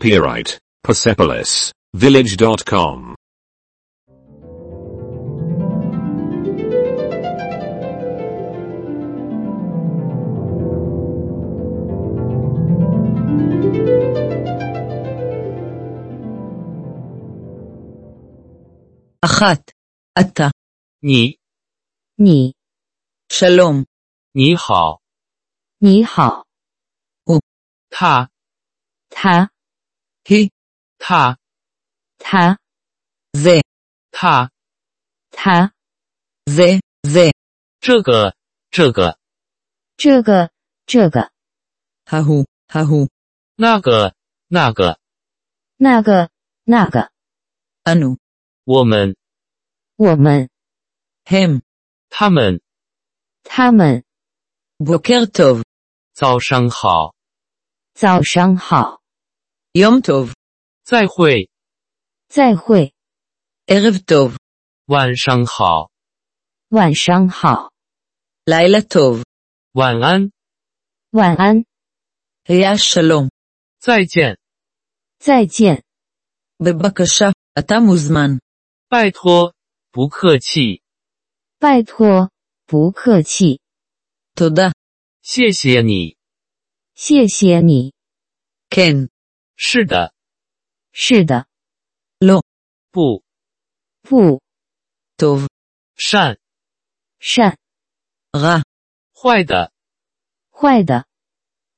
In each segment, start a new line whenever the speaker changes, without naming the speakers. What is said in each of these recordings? Copyright Persepolis Village.com.
אחת. אתה.
你
你. שלום.
你好，
你好。
他
他. היא.
他
他. זה.
他，
他. זה. זה.
这个这个
这个这个。ההוא. ההוא.
那个那个，
那个那个。אנו.
我们
我们。הם.
他们，
他们。בוקר טוב.
早上好，
早上好。יום טוב.
再会，
再会。ערב טוב.
晚上好，
晚上好。לילה טוב.
晚安，
晚安。היה שלום.
再见，
再见。בבקשה, אתה מוזמן.
拜托，不客气，
拜托，不客气。תודה.
谢谢你。
谢谢你。כן.
是的，
是的。
不
不。טוב.
善，
善。רע.
坏的，
坏的。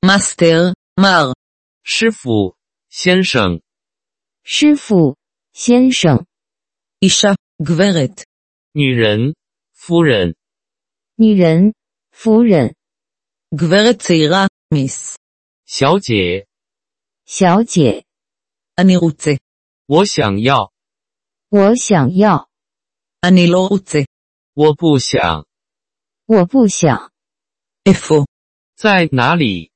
מאסטר. מר.
师傅先生，
师傅，先生。אישה. גברת.
女人，夫人，
女人，夫人。גברת צעירה. מיס.
小姐，
小姐。אני רוצה.
我想要，
我想要。אני לא רוצה.
我不想，
我不想。איפה?
在哪里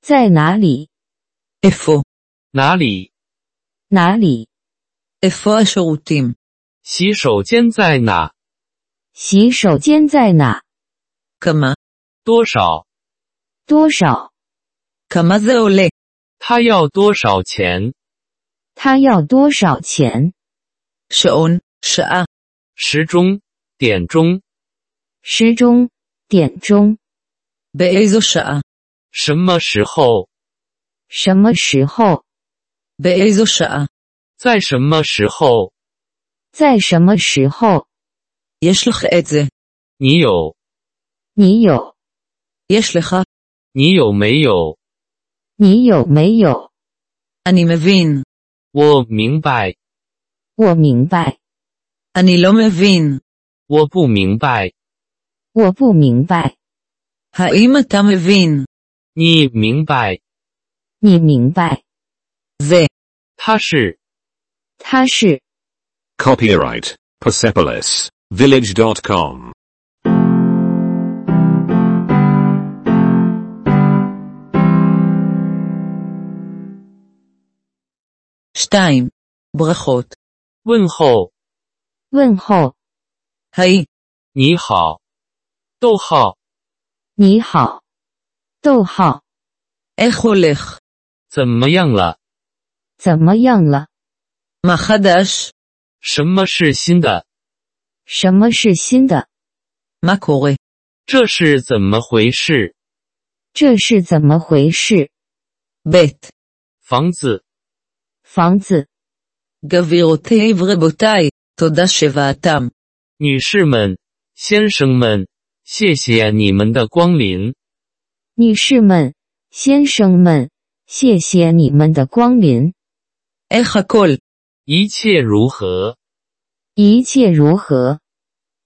在哪里？איפה?
哪里，
哪里？איפה השירותים?
洗手间在哪，
洗手间在哪？כמה?
多少，
多少？כמה זה עולה?
他要多少钱，
他要多少钱？שעון, שעה,
时钟，点钟，
时钟，点钟。באיזו שעה?
什么时候，
什么时候？באיזו שעה?
在什么时候，
在什么时候？יש לך את זה.
你有，
你有？יש לך.
你有没有？
你有没有？אני מבין.
我明白，
我明白。אני לא מבין.
我不明白，
我不明白。האם אתה מבין?
你明白，
你明白？זה.
他是
他是
Copyright Persepolis Village.com.
שתיים. ברכות.
问候，
问候。היי.
你好，逗号，
你好。逗号。איך הולך?
怎么样了？
怎么样了？מה חדש?
什么是新的？
什么是新的？מה קורה?
这是怎么回事？
这是怎么回事？בית.
房子，
房子。גבירותיי ורבותיי, תודה שבאתם.
女士们，先生们，谢谢你们的光临。
女士们、先生们，谢谢你们的光临。איך הכל?
一切如何？
一切如何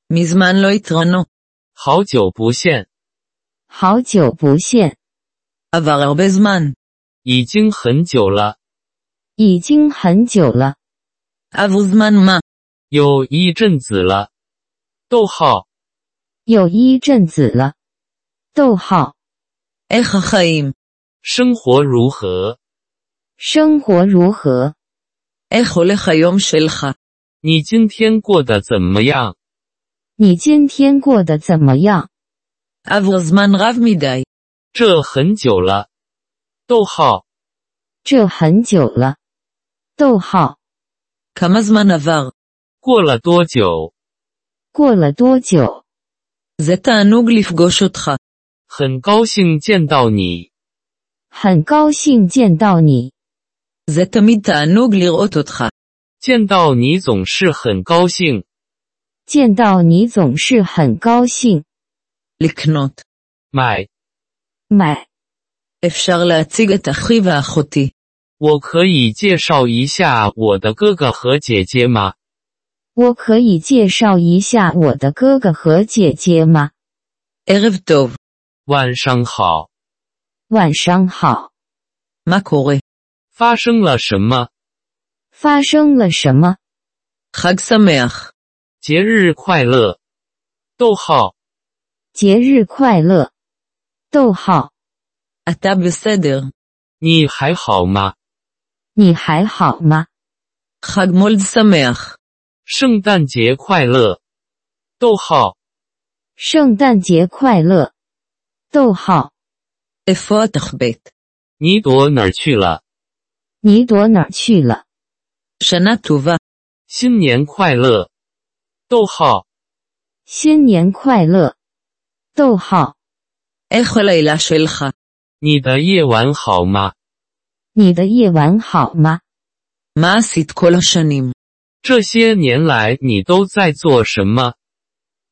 ？מזמן לא התרנו.
好久不见，
好久不见。עבר הרבה זמן.
已经很久了，
已经很久了。עבר זמן מה?
有一阵子了。逗号，
有一阵子了。逗号。איך החיים?
生活如何？
生活如何？איך הולך היום שלך?
你今天过得怎么样？
你今天过得怎么样？עבר זמן רב מדי.
这很久了。逗号，
这很久了。逗号，
כמה זמן עבר?
过了多久？
过了多久？
זה תענוג לפגוש אותך.
很高兴见到你，
很高兴见到你，
זה תמיד תענוג לראות אותך.
见到你总是很高兴。
见到你总是很高兴。
לקנות.
买，
买，
אפשר להציג את אחי ואחותי.
我可以介绍一下我的哥哥和姐姐吗？
我可以介绍一下我的哥哥和姐姐吗？
ערב טוב.
晚上好，
晚上好，
מה קורה?
发生了什么？
发生了什么？
חג שמח.
节日快乐。逗号，
节日快乐。逗号，
אתה בסדר.
你还好吗？
你还好吗？
חג מולד שמח.
圣诞节快乐。逗号，
圣诞节快乐。逗号，
איפה התחבט?
你躲哪儿去了？
你躲哪儿去了？
שנה טובה.
新年快乐。逗号，
新年快乐。逗号，
איך הלילה שלך?
你的夜晚好吗？
你的夜晚好吗？
מה עשית כל השנים?
这些年来你都在做什么？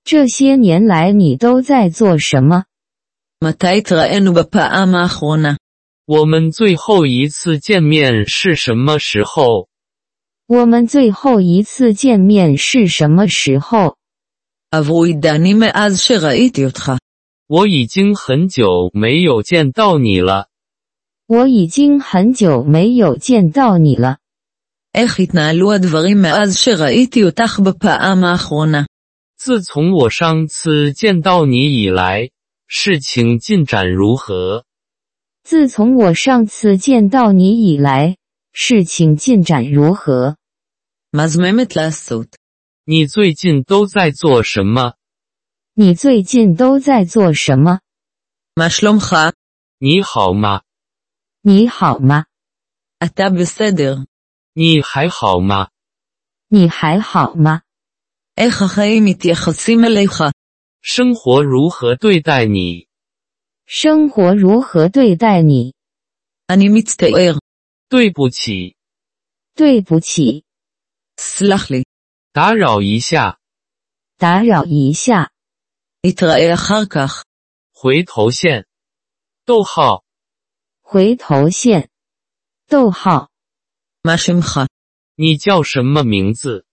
这些年来你都在做什么？
מתי התראינו בפעם האחרונה?
我们最后一次见面是什么时候？
我们最后一次见面是什么时候？
עברו עידנים מאז שראיתי אותך.
我已经很久没有见到你了。
我已经很久没有见到你了。
איך התנהלו הדברים מאז שראיתי אותך בפעם האחרונה?
自从我上次见到你以来，事情进展如何？
自从我上次见到你以来，事情进展如何？
מזממת לעשות.
你最近都在做什么？
你最近都在做什么？
מה שלומך?
你好吗？
你好吗？
אתה בסדר.
你还好吗？
你还好吗？
איך החיים מתייחסים אליך?
生活如何对待你？
生活如何对待你？
אני מצטער.
对不起，
对不起，
סלח לי.
打扰一下，
打扰一下，
נתראה אחר כך.
回头见。逗号，
回头见。逗号，
מה שמך?
你叫什么名字？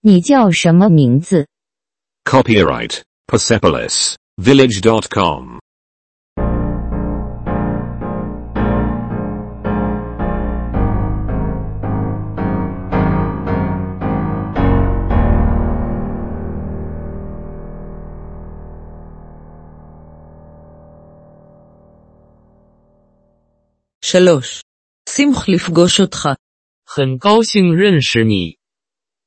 你叫什么名字？
Copyright Persepolis Village.com.
שלוש. שמח לפגוש אותך.
很高兴认识你，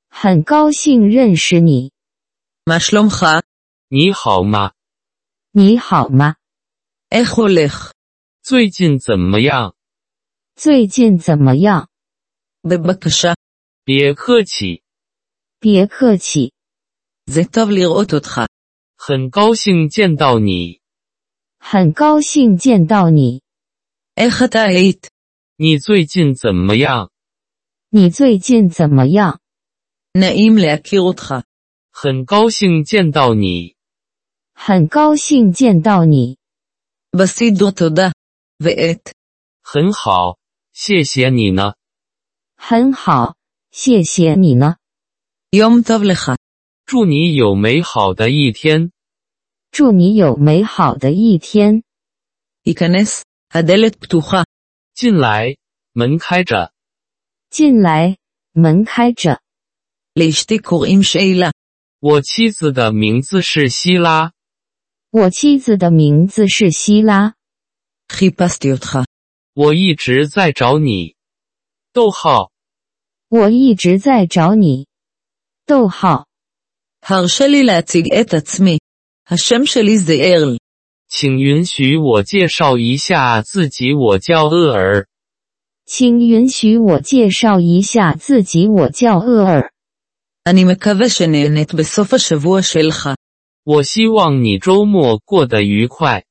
很高兴认识你，
מה שלומך?
你好吗？
你好吗？
איך הולך?
最近怎么样？
最近怎么样？
בבקשה.
别客气，
别客气，
זה טוב לראות אותך.
很高兴见到你。
很高兴见到你。
איך אתה היית?
你最近怎么样？
你最近怎么样？
נעים להכיר אותך.
很高兴见到你。
很高兴见到你，
בסידור תודה. ואת.
很好，谢谢你呢。
很好，谢谢你呢。
יום טוב לך.
祝你有美好的一天。
祝你有美好的一天。
היכנס. הדלת פתוחה.
进来，门开着。
进来，门开着。
לאשתי קוראים שאלה.
我妻子的名字是希拉，
我妻子的名字是希拉，
חיפשתי אותך.
我一直在找你。逗号，
我一直在找你。逗号，
הרשה לי להציג את עצמי. השם שלי זה ארל.
请允许我介绍一下自己，我叫厄尔。
请允许我介绍一下自己，我叫厄尔。
אני מקווה שנהנית בסוף השבוע שלך.
我希望你周末过得愉快。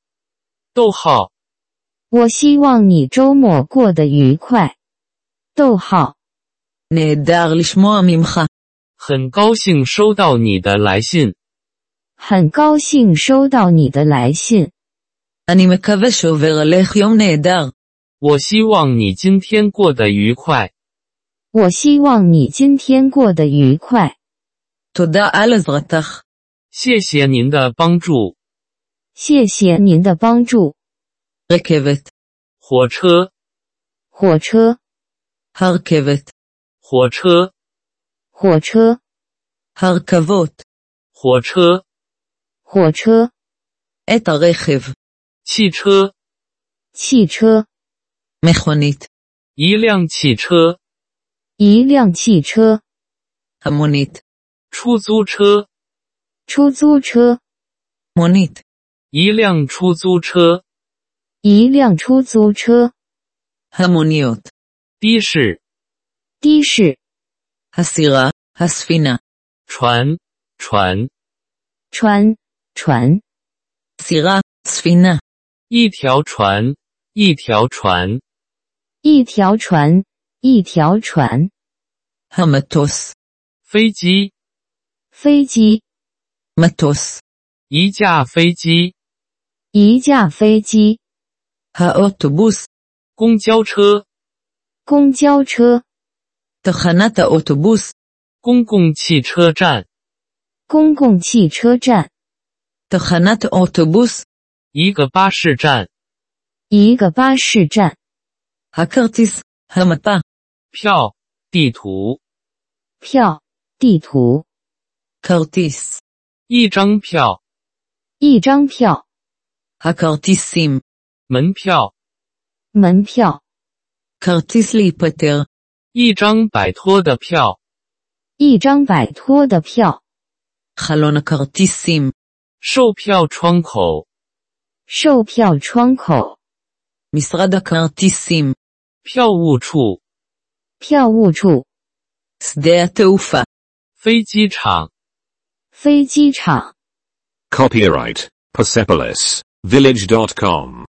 逗号，
我希望你周末过得愉快。逗号，
נהדר לשמוע ממך.
很高兴收到你的来信。
很高兴收到你的来信。
אני מקווה שעובר עליך יום נהדר.
我希望你今天过得愉快。
我希望你今天过得愉快。
תודה על עזרתך.
谢谢您的帮助。
谢谢您的帮助。
רכבת,
火车，
火车，
הרכבת,
火车，
火车，
הרכבות,
火车，
火车，
את הרכב,
汽车，
汽车，
מכונית,
一辆汽车，
一辆汽车，
המונית,
出租车，
出租车，
מונית,
一辆出租车，
一辆出租车，
המוניות,
的士，
的士，
הסירה, הספינה,
船，船，
船，船，
סירה, ספינה,
一条船，一条船，
一条船，一条船，
המטוס,
飞机，
飞机，
מטוס,
一架飞机，
一架飞机，
האוטובוס,
公交车，
公交车，
תחנת האוטובוס,
公共汽车站，
公共汽车站，
תחנת אוטובוס,
一个巴士站，
一个巴士站，
הכרטיס, המפה,
票，地图，
票，地图，
כרטיס,
一张票，
一张票，
הכרטיסים,
门票，
门票，
כרטיס להיפטר,
一张摆脱的票，
一张摆脱的票，
חלון הכרטיסים,
售票窗口，
售票窗口，
משרד הכרטיסים,
票务处，
票务处，
שדה התעופה,
飞机场。
飞机场。
Copyright Persepolis Village.com.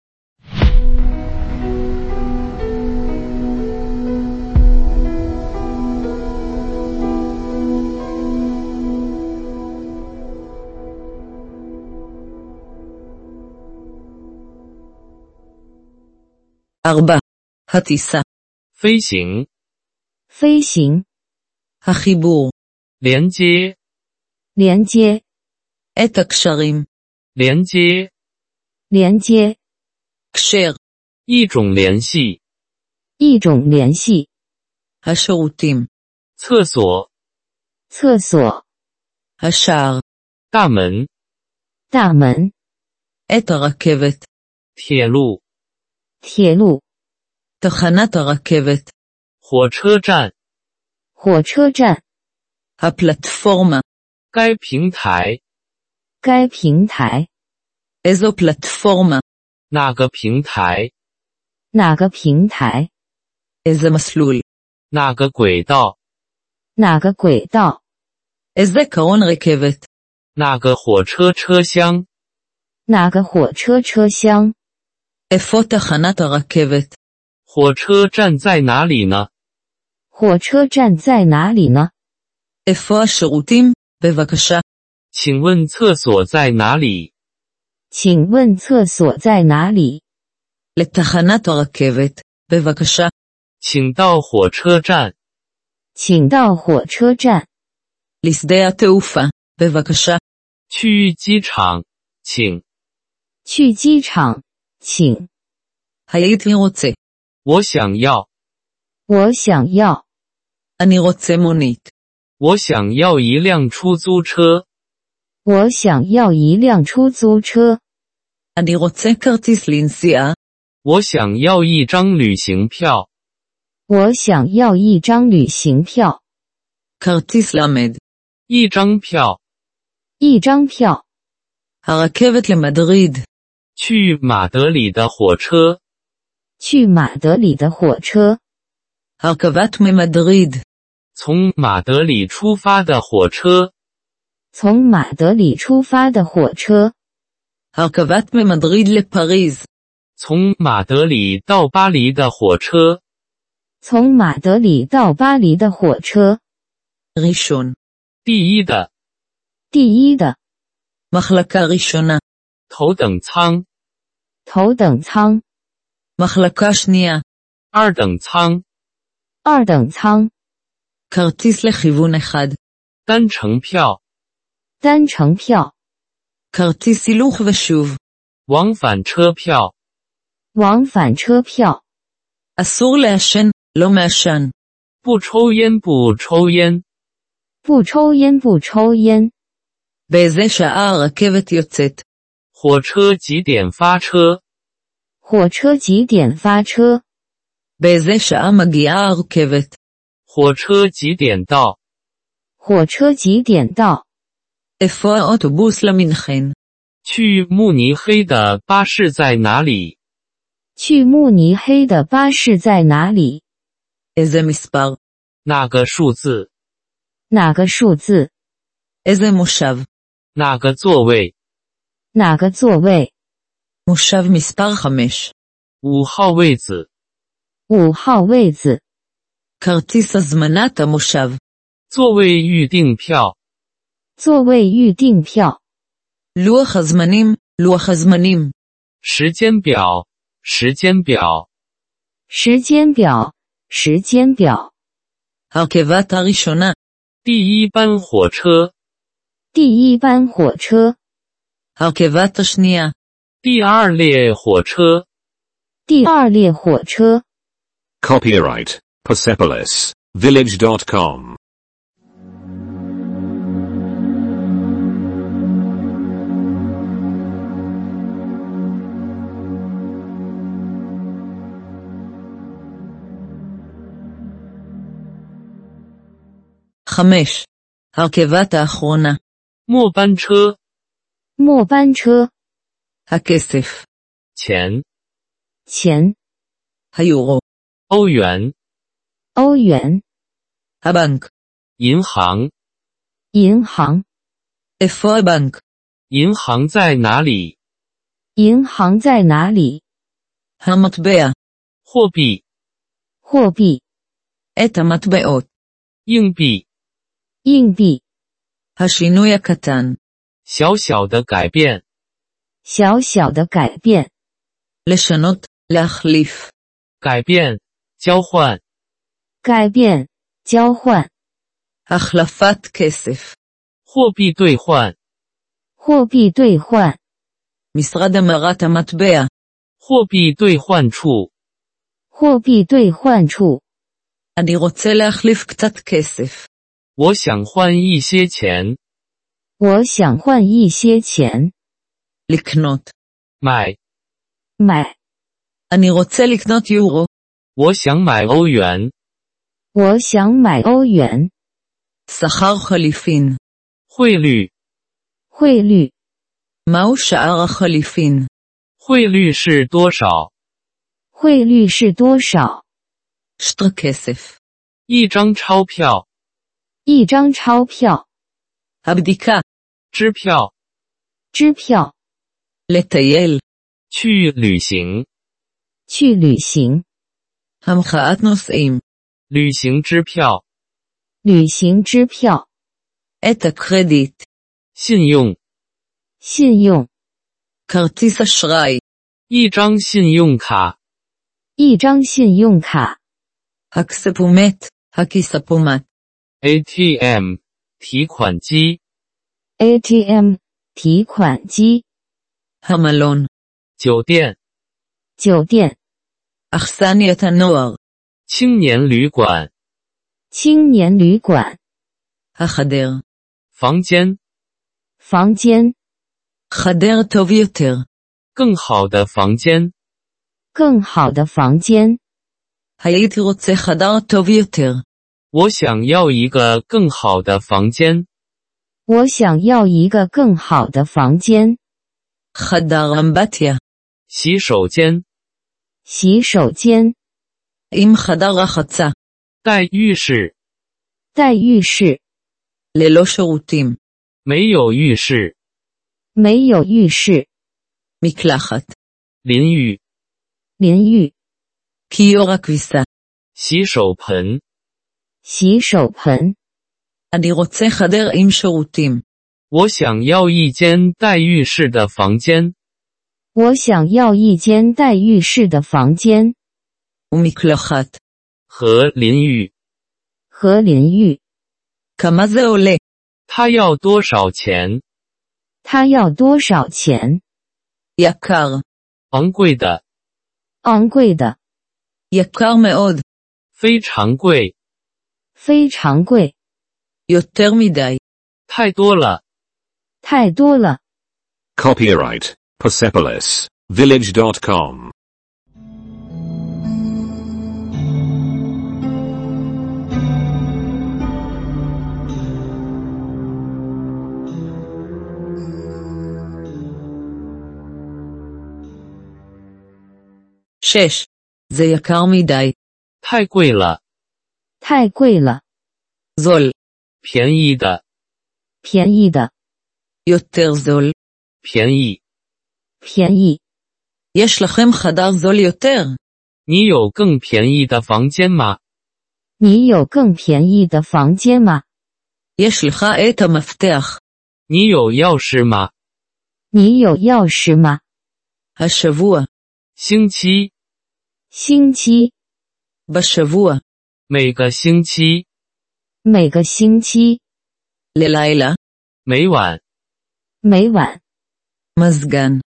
ארבע, הטיסה,
飞行、
飞行、
החיבור,
连接、
连接、
את הקשרים,
连接，
连接，
קשר,
一种联系。
一种联系。
השירותים,
厕所、
厕所、
השער,
大门、
大门、
את הרכבת,
铁路、
铁路、
תחנת הרכבת,
火车站。
火车站。
הפלטפורמה,
该平台
该平台
איזו פלטפורמה,
哪个平台？
哪个平台？
איזה מסלול,
哪个轨道？
哪个轨道？
איזה קרון רכבת,
哪个火车车厢？
哪个火车车厢？
איפה תחנת הרכבת,
火车站在哪里呢？
火车站在哪里呢？
איפה השירותים, בבקשה,
请问厕所在哪里？
请问厕所在哪里？
לתחנת הרכבת, בבקשה,
请到火车站，
请到火车站，
לשדה התעופה, בבקשה,
去机场，请。
去机场，请。
הייתי רוצה,
我想要，
我想要，
אני רוצה מונית,
我想要一辆出租车，
我想要一辆出租车，
אני רוצה כרטיס לנסיעה,
我想要一张旅行票，
我想要一张旅行票，
כרטיס למד,
一张票
一张票。
הרכבת למדריד,
去马德里的火车。
去马德里的火车，
הרכבת ממדריד.
从马德里出发的火车，
从马德里出发的火车，
הרכבת ממדריד לפריז.
从马德里到巴黎的火车，
从马德里到巴黎的火车，
ראשון.
第一的
第一的
מחלקה ראשונה.
头等舱、
头等舱、
מחלקה שנייה.
二等舱、
二等舱、
כרטיס לכיוון אחד.
单程票、
单程票、
כרטיס הילוך ושוב.
往返车票、
往返车票，
אסור לעשן, לא מעשן.
不抽烟不抽烟、
不抽烟不抽烟，
באיזה שעה הרכבת יוצאת?
火车几点发车、
火车几点发车，
באיזה שעה מגיעה הרכבת?
火车几点到、
火车几点到，
איפה האוטובוס למנחן?
去慕尼黑的巴士在哪里、
去慕尼黑的巴士在哪里，
איזה מספר?
那个数字、
哪个数字，
איזה מושב?
那个座位、
哪个座位，
מושב מספר 5.
五号位子、
五号位子，
כרטיס הזמנת המושב.
座位预订票、
座位预订票，
לוח הזמנים, לוח הזמנים.
时间表、时间表、
时间表，时间表，
הרכבת הראשונה,
第一班火车、
第一班火车，
הרכבת השנייה,
第二列火车、
第二列火车。
Copyright Persepolis Village.com.
חמש. הרכבת האחרונה,
末班车
末班车
הכסף,
钱
钱、
היורו,
欧元
欧元、
הבנק.
银行，
银行，
איפה הבנק?
银行在哪里？
银行在哪里？
המטבע,
货币、
货币、
את המטבעות,
硬币，
硬币。
השינוי הקטן,
小小的改变，
小小的改变，
לשנות, להחליף,
改变，交换，
改变、交换、
החלפת כסף.
货币兑换，
货币兑换、
משרד המרת המטבע,
货币兑换处，
货币兑换处。
אני רוצה להחליף קצת כסף.
我想换一些钱，
我想换一些钱
לקנות.
买，
买，
אני רוצה לקנות יורו,
我想买欧元，
我想买欧元。
שכר חליפין.
汇率，
汇率，
מהו שער החליפין?
汇率是多少？
汇率是多少？
שטר כסף.
一张钞票、
一张钞票、
הבדיקה,
支票，
支票。
לטייל,
去旅行，
去旅行，
המחאת נוסעים,
旅行支票，
旅行支票、
את הקרדיט,
信用，
信用、
כרטיס אשראי,
一张信用卡，
一张信用卡、
הכספומט, הכיספומט,
ATM 提款机、
ATM、提款机、
המלון,
酒店、
酒店、
אכסניית הנוער,
青年旅馆、
青年旅馆、
החדר.
房间、
房间、
חדר טוב יותר,
更好的房间、
更好的房间。
הייתי רוצה חדר טוב יותר,
我想要一个更好的房间、
我想要一个更好的房间、
חדר אמבטיה,
洗手间、
洗手间、
עם חדר רחצה,
待遇是
待遇是
ללא שירותים,
没有浴室、
没有浴室、
מקלחת,
淋浴、
淋浴、
כיור הכביסה.
洗手盆。
洗手盆。
אני רוצה חדר עם שירותים.
我想要一间带浴室的房间、
我想要一间带浴室的房间
ומקלחת.
和淋浴。
和淋浴，
כמה זה עולה?
他要多少钱？
它要多少钱？
יקר.
昂贵的，
昂贵的，
יקר מאוד.
非常贵，
非常贵，
יותר מדי.
太多了。
太多了。
Copyright Persepolis Village.com.
שש. זה יקר מדי.
太贵了，
太贵了，
זול.
便宜的，
便宜的，
יותר זול.
便宜。
便宜。
יש לכם חדר זול יותר?
你有更便宜的房间吗？
你有更便宜的房间吗？
יש לך את המפתח.
你有钥匙吗？
你有钥匙吗？
השבוע.
星期，
星期，
בשבוע.
每个星期，
每个星期，
ללילה.
每晚，
每晚，
מזגן.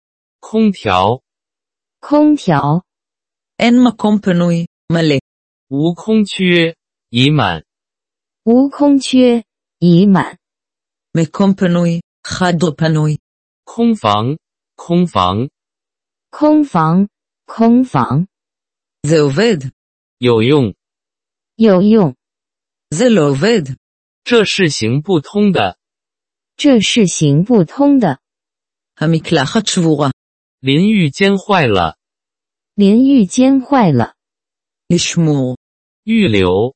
空调，
空调，
אין מקום פנוי. מלא.
无空缺，已满，
无空缺，已满，
מקום פנוי. חדר פנוי.
空房，空房，
空房，空房，
זה עובד.
有用，
有用，
זה לא עובד.
这是行不通的。
这是行不通的。
המקלחת שבורה.
淋浴间坏了，
淋浴间坏了，
לשמור.
预留，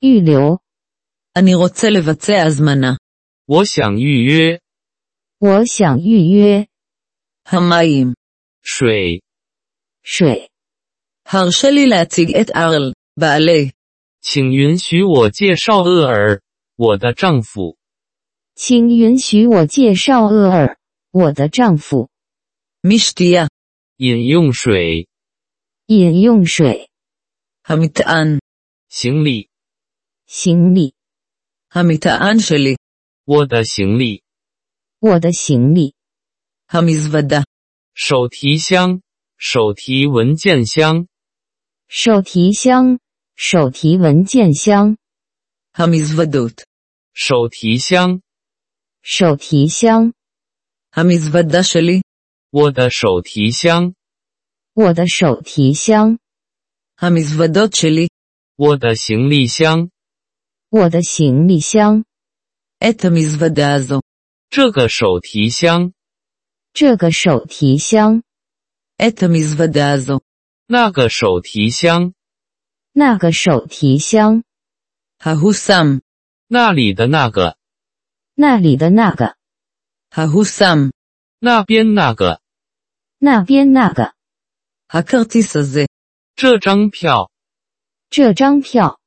预留，
אני רוצה לבצע הזמנה.
我想预约
我想预约
המים.
水，
水，
הרשה לי להציג את ארל, בעלי.
请允许我介绍厄尔，我的丈夫。
请允许我介绍厄尔，我的丈夫。
מי שתייה?
饮用水，
饮用水、
המטען.
行李，
行李、
המטען שלי.
我的行李，
我的行李、
המזוודה.
手提箱，手提文件箱，
手提箱、手提文件箱、
המזוודות.
手提箱，
手提箱、
המזוודה שלי.
我的手提箱，
我的手提箱、
המזוודות שלי.
我的行李箱。
我的行李箱。
את המזוודה הזו.
这个手提箱，
这个手提箱、
את המזוודה הזו.
那个手提箱，
那个手提箱、
ההוא שם.
那里的那个，
那里的那个、
ההוא שם.
那边那个，
那边那个、
הכרטיס הזה.
这张票，
这张票、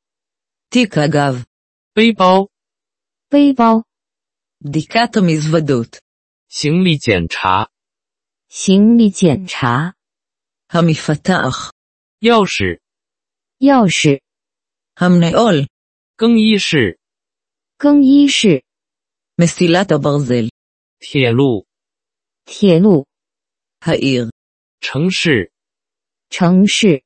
תיק הגב.
背包，
背包、
בדיקת המזוודות.
行李检查，
行李检查、
המפתח.
钥匙，
钥匙、
המנעול.
更衣室，
更衣室、
מסילת הברזל.
铁路，
铁路、
העיר.
城市，
城市、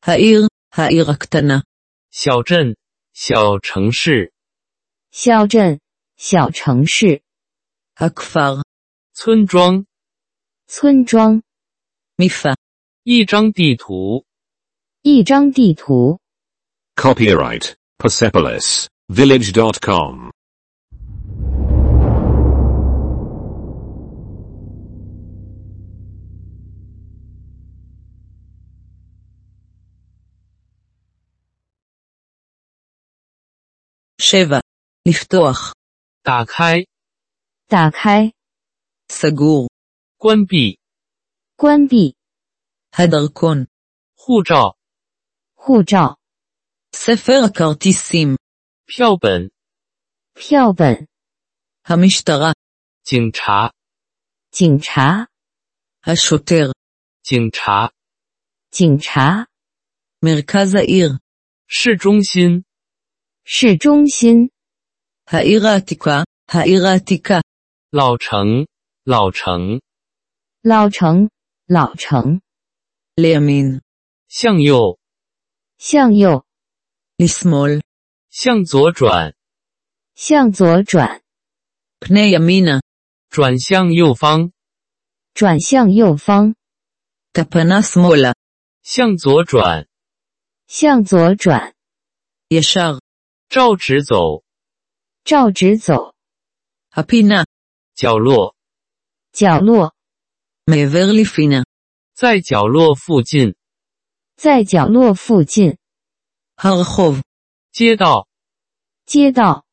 העיר, העיר הקטנה.
小镇，小城市，
小镇、小城市、
הכפר.
村庄，
村庄。
מיפה.
一张地图，
一张地图，
Copyright Persepolis Village.com.
7. לפתוח.
打开、
打开、
סגור.
关闭、
关闭、
הדרכון.
护照、
护照、
ספר הכרטיסים.
票本、
票本、
המשטרה.
警察、
警察、
השוטר.
警察、
警察、
מרכז העיר.
市中心、
市中心、
העיר העתיקה. העיר העתיקה.
老城、老城、
老城、老城、
לימין.
向右、
向右、
לשמאל.
向左转，
向左转，
פנה ימינה.
转向右方，
转向右方，
תפנה שמאלה.
向左转，
向左转，
ישר.
照直走，
照直走，
הפינה.
角落，
角落，
מעבר לפינה.
在角落附近，
在角落附近，
הרחוב.
街道
街道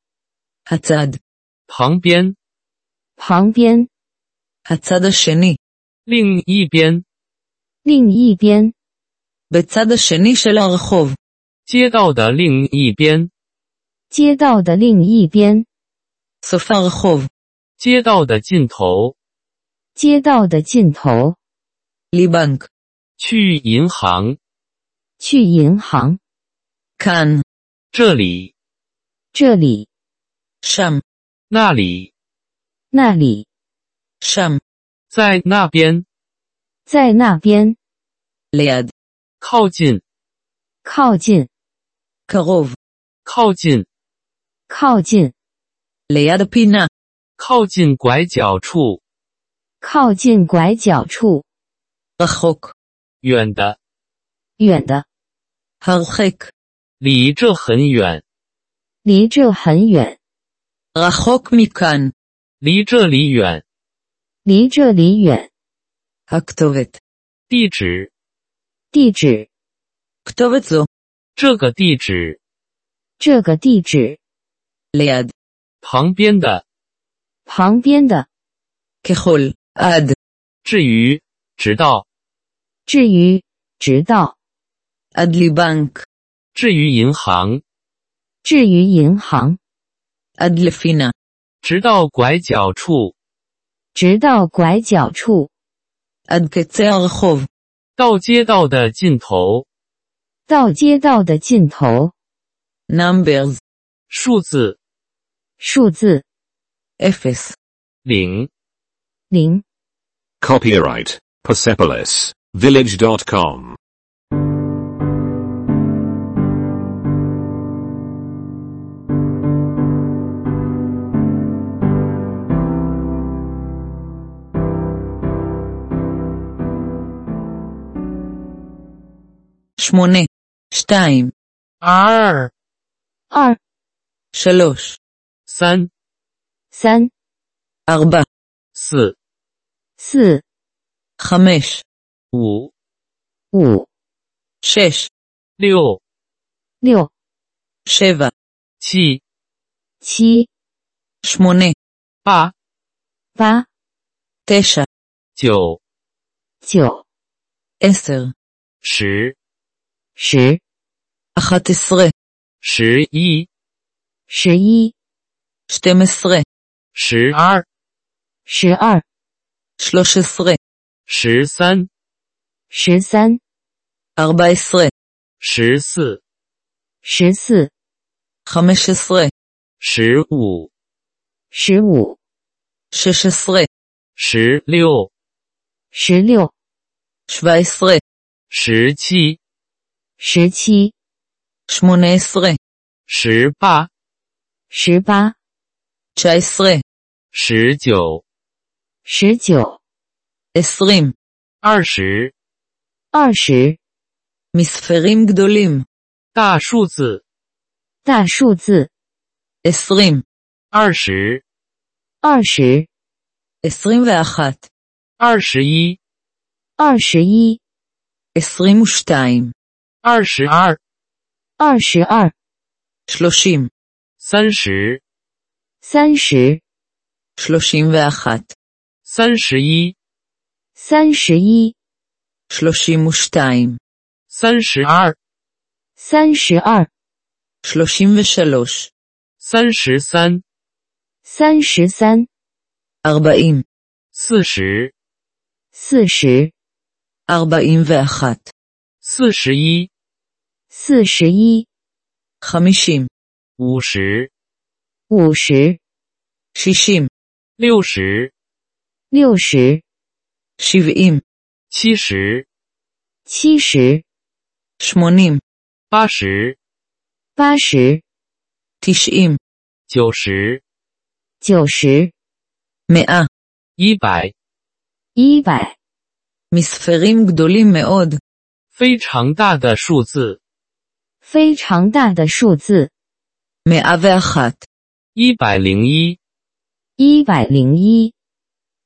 הצד.
旁边，
旁边，
הצד השני.
另一边，
另一边，
בצד השני של הרחוב.
街道的另一边，
街道的另一边，
סוף הרחוב.
街道的尽头，
街道的尽头，
ליבנק.
去银行，
去银行，
כאן.
这里、
这里、
שם.
那里，
那里，
שם.
在那边，
在那边，
ליד.
靠近，
靠近，
קרוב.
靠近，
靠近，
ליד הפינה.
靠近拐角处，
靠近拐角处，
רחוק.
远的，
远的，
הרחק.
离这很远，
离这很远，
רחוק מכאן.
离这里远，
离这里远。
הכתובת.
地址，
地址，
כתובת זו.
这个地址，
这个地址，
ליד.
旁边的，
旁边的。
ככל. עד.
至于，直到，
至于，直到，
עד ליבנק.
至于银行，
至于银行，
עד לפינה.
直到拐角处，
直到拐角处，
עד קצה הרחוב.
到街道的尽头，
到街道的尽头。
numbers.
数字
数字
אפס.
零。
零。
Copyright Persepolis Village.com.
שמונה. שתיים.
R
二
שלוש.
三
三
ארבע.
四
四
חמש.
五
五
שש.
六
六
שבע.
七
七
שמונה.
八
八
תשע.
九
九
עשר.
十
十
אחת עשרה.
十一
十一
שתים עשרה.
十二
十二
שלוש עשרה.
十三
十三
ארבע עשרה.
十四
十四
חמש עשרה.
十五
十五
שש עשרה.
十六
十六
שבע עשרה.
十七
十七
שמונה עשרה.
十八
十八
תשע עשרה.
十九
十九
עשרים.
二十
二十
מספרים גדולים.
大数字
大数字
עשרים.
二十
二十
עשרים ואחת.
二十一
二十一
עשרים ושתיים.
二十二
二十二
שלושים.
三十、
三十、
שלושים ואחת,
三十一、
三十一、
שלושים ושתיים,
三十二、
三十二、
שלושים ושלוש,
三十三、
三十三、
ארבעים,
四十、
四十、
ארבעים ואחת,
四十一、
四十一、
חמישים,
五十、
五十、
שישים,
六十、
六十、
שבעים,
七十、
七十、
שמונים,
八十、
八十、
תשעים,
九十、
九十、
מאה.
一百，
一百，
מספרים גדולים מאוד.
非常大的数字。
非常大的数字。
מאה ואחת,
一百零一、
一百零一、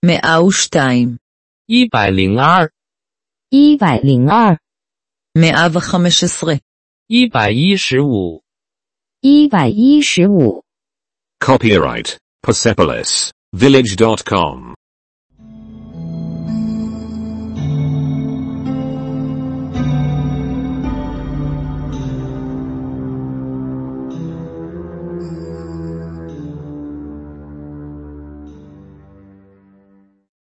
מאה ושתיים,
一百零二、
一百零二、
מאה וחמש עשרה,
一百一十五、
一百一十五。
Copyright Persepolis Village.com.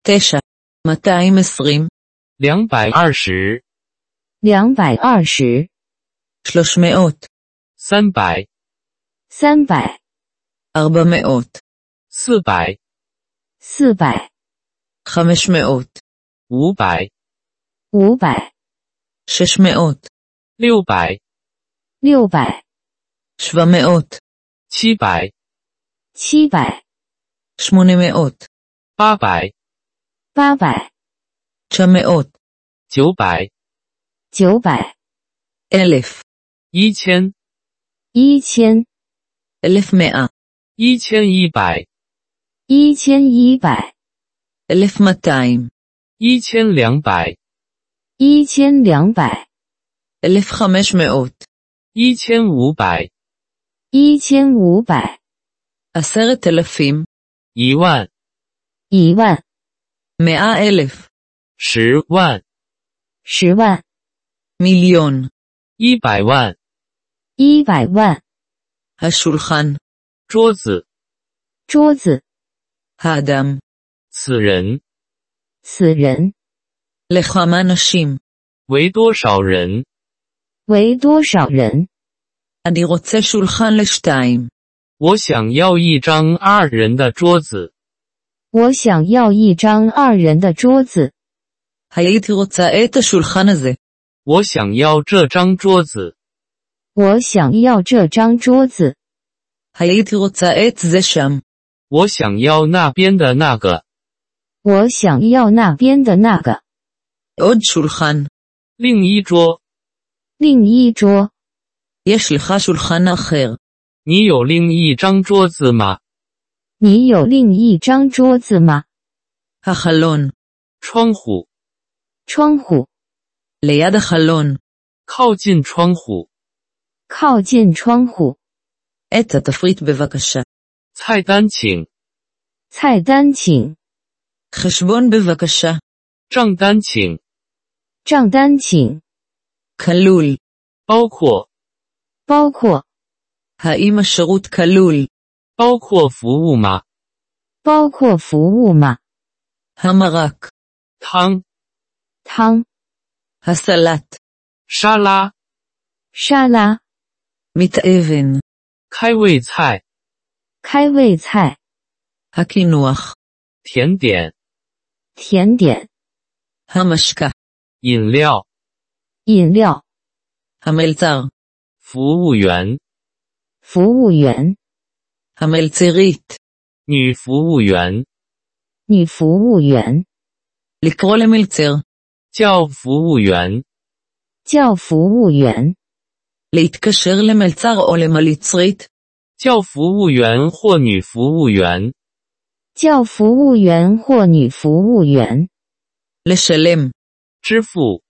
תשע, מאתיים עשרים,
两百二十、
两百二十、
שלוש מאות,
三百、
三百、
ארבע מאות,
四百、
四百、
חמש מאות,
五百、
五百、
שש מאות,
六百、
六百、
שבע מאות,
七百、
七百、
שמונה מאות,
八百、
八百、
תשע מאות,
九百、
九百、
אלף,
一千、
一千、
אלף מאה,
一千一百、
一千一百、
אלף מאתיים,
一千两百、
一千两百、
אלף חמש מאות,
一千五百、
一千五百、
עשרת אלפים,
一万、
一万、
מאה אלף,
十万、
十万、
מיליון,
一百万。
一百万。
השולחן,
桌子，
桌子，
האדם,
此人
此人
לכמה נשים,
为多少人？
为多少人？
אני רוצה שולחן לשתיים.
我想要一张二人的桌子。
我想要一张二人的桌子，
הייתי רוצה את השולחן הזה.
我想要这张桌子，
我想要这张桌子，
הייתי רוצה את זה שם.
我想要那边的那个。
我想要那边的那个。
עוד שולחן.
另一桌，
另一桌，
יש לך שולחן אחר.
你有另一张桌子吗？
你有另一张桌子吗？
החלון.
窗户，
窗户，
ליד החלון.
靠近窗户。
靠近窗户。
את התפריט בבקשה.
菜单请，
菜单请，
חשבון בבקשה.
账单请，
账单请，
כלול.
包括
包括
האם השירות כלול?
包括服务吗？
包括服务吗？
המרק.
汤、
汤、
הסלט.
沙拉、
沙拉、
מתאבן.
开胃菜、
开胃菜、
הקינוח.
甜点、
甜点、
המשקה.
饮料。
饮料。
המלצר.
服务员，
服务员、
המלצרית.
女服务员，
女服务员、
לקרוא למלצר.
叫服务员，
叫服务员、
להתקשר למלצר או למלצרית,
叫服务员或女服务员，
叫服务员或女服务员、
לשלם,
支付。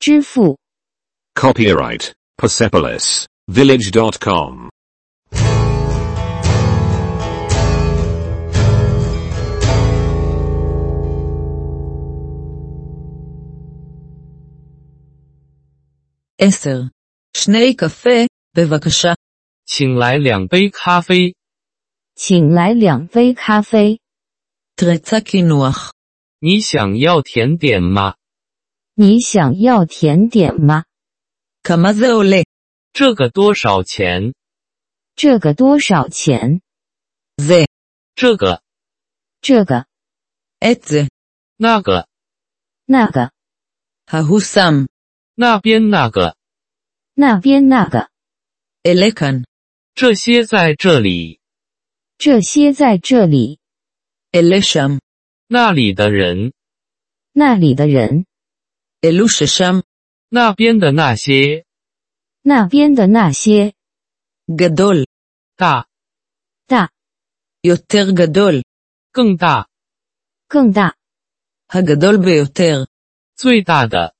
支付。
Copyright Persepolis Village.com.
10. שני קפה, בבקשה.
请来两杯咖啡，
请来两杯咖啡。
תרצה קינוח.
你想要甜点吗？
你想要甜点吗？
כמה זה עולה?
这个多少钱？
这个多少钱？
זה.
这个、
这个、
את זה.
那个、
那个、
ההוא שם.
那边那个，
那边那个，
אלה כאן.
这些在这里，
这些在这里，
אלה שם.
那里的人，
那里的人，
אלו ששם.
那边的那些，
那边的那些，
גדול.
大、
大、
יותר גדול.
更大、
更大、
הגדול ביותר.
最大的、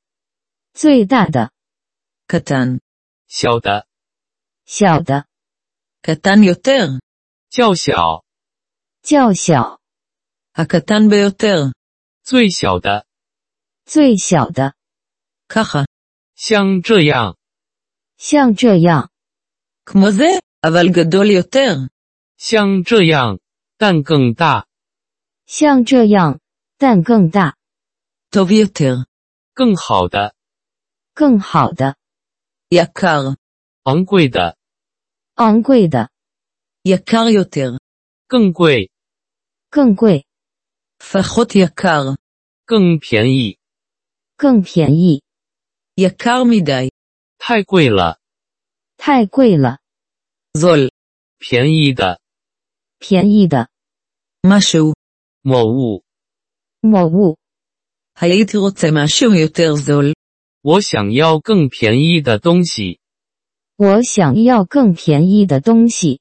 最大的、
קטן.
小的、
小的、
קטן יותר.
较小、
较小、
הקטן ביותר.
最小的，
最小的，
ככה.
像这样，
像这样，
כמו זה, אבל גדול יותר.
像这样，但更大、
像这样，但更大、
טוב יותר.
更好的、
更好的、
יקר.
昂贵的、
昂贵的、
יקר יותר.
更贵、
更贵、
פחות יקר.
更便宜、
更便宜，
יקר מדי.
太贵了、
太贵了，
זול.
便宜的
便宜的
משהו.
某物，
某物，
הייתי רוצה משהו יותר זול.
我想要更便宜的东西，
我想要更便宜的东西，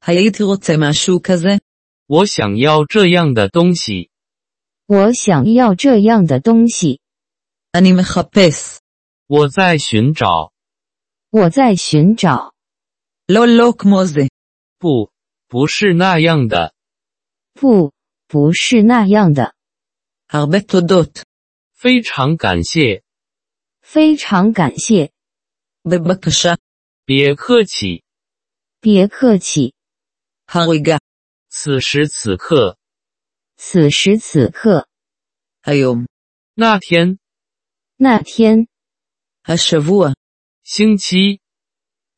הייתי רוצה משהו כזה.
我想要这样的东西，
我想要这样的东西，
אני מחפש.
我在寻找，
我在寻找，
לא לא כמו זה.
不，不是那样的，
不，不是那样的。
הרבה תודות.
非常感谢，
非常感谢，
בבקשה.
别客气。
别客气。
הריגה.
此时此刻，
此时此刻，
היום.
那天，
那天，
השבוע.
星期，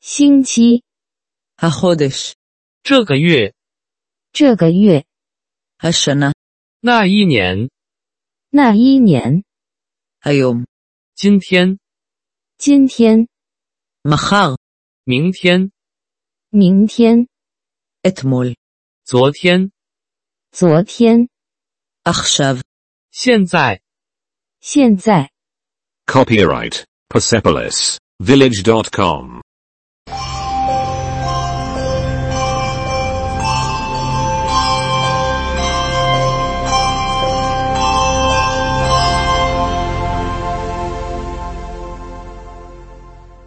星期，
החודש.
这个月，
这个月，
השנה.
那一年，
那一年，
היום.
今天，
今天，
מחר.
明天，
明天，
אתמול.
昨天，
昨天，
עכשיו.
现在。
现在。
Copyright Persepolis Village.com.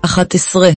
אחת עשרה.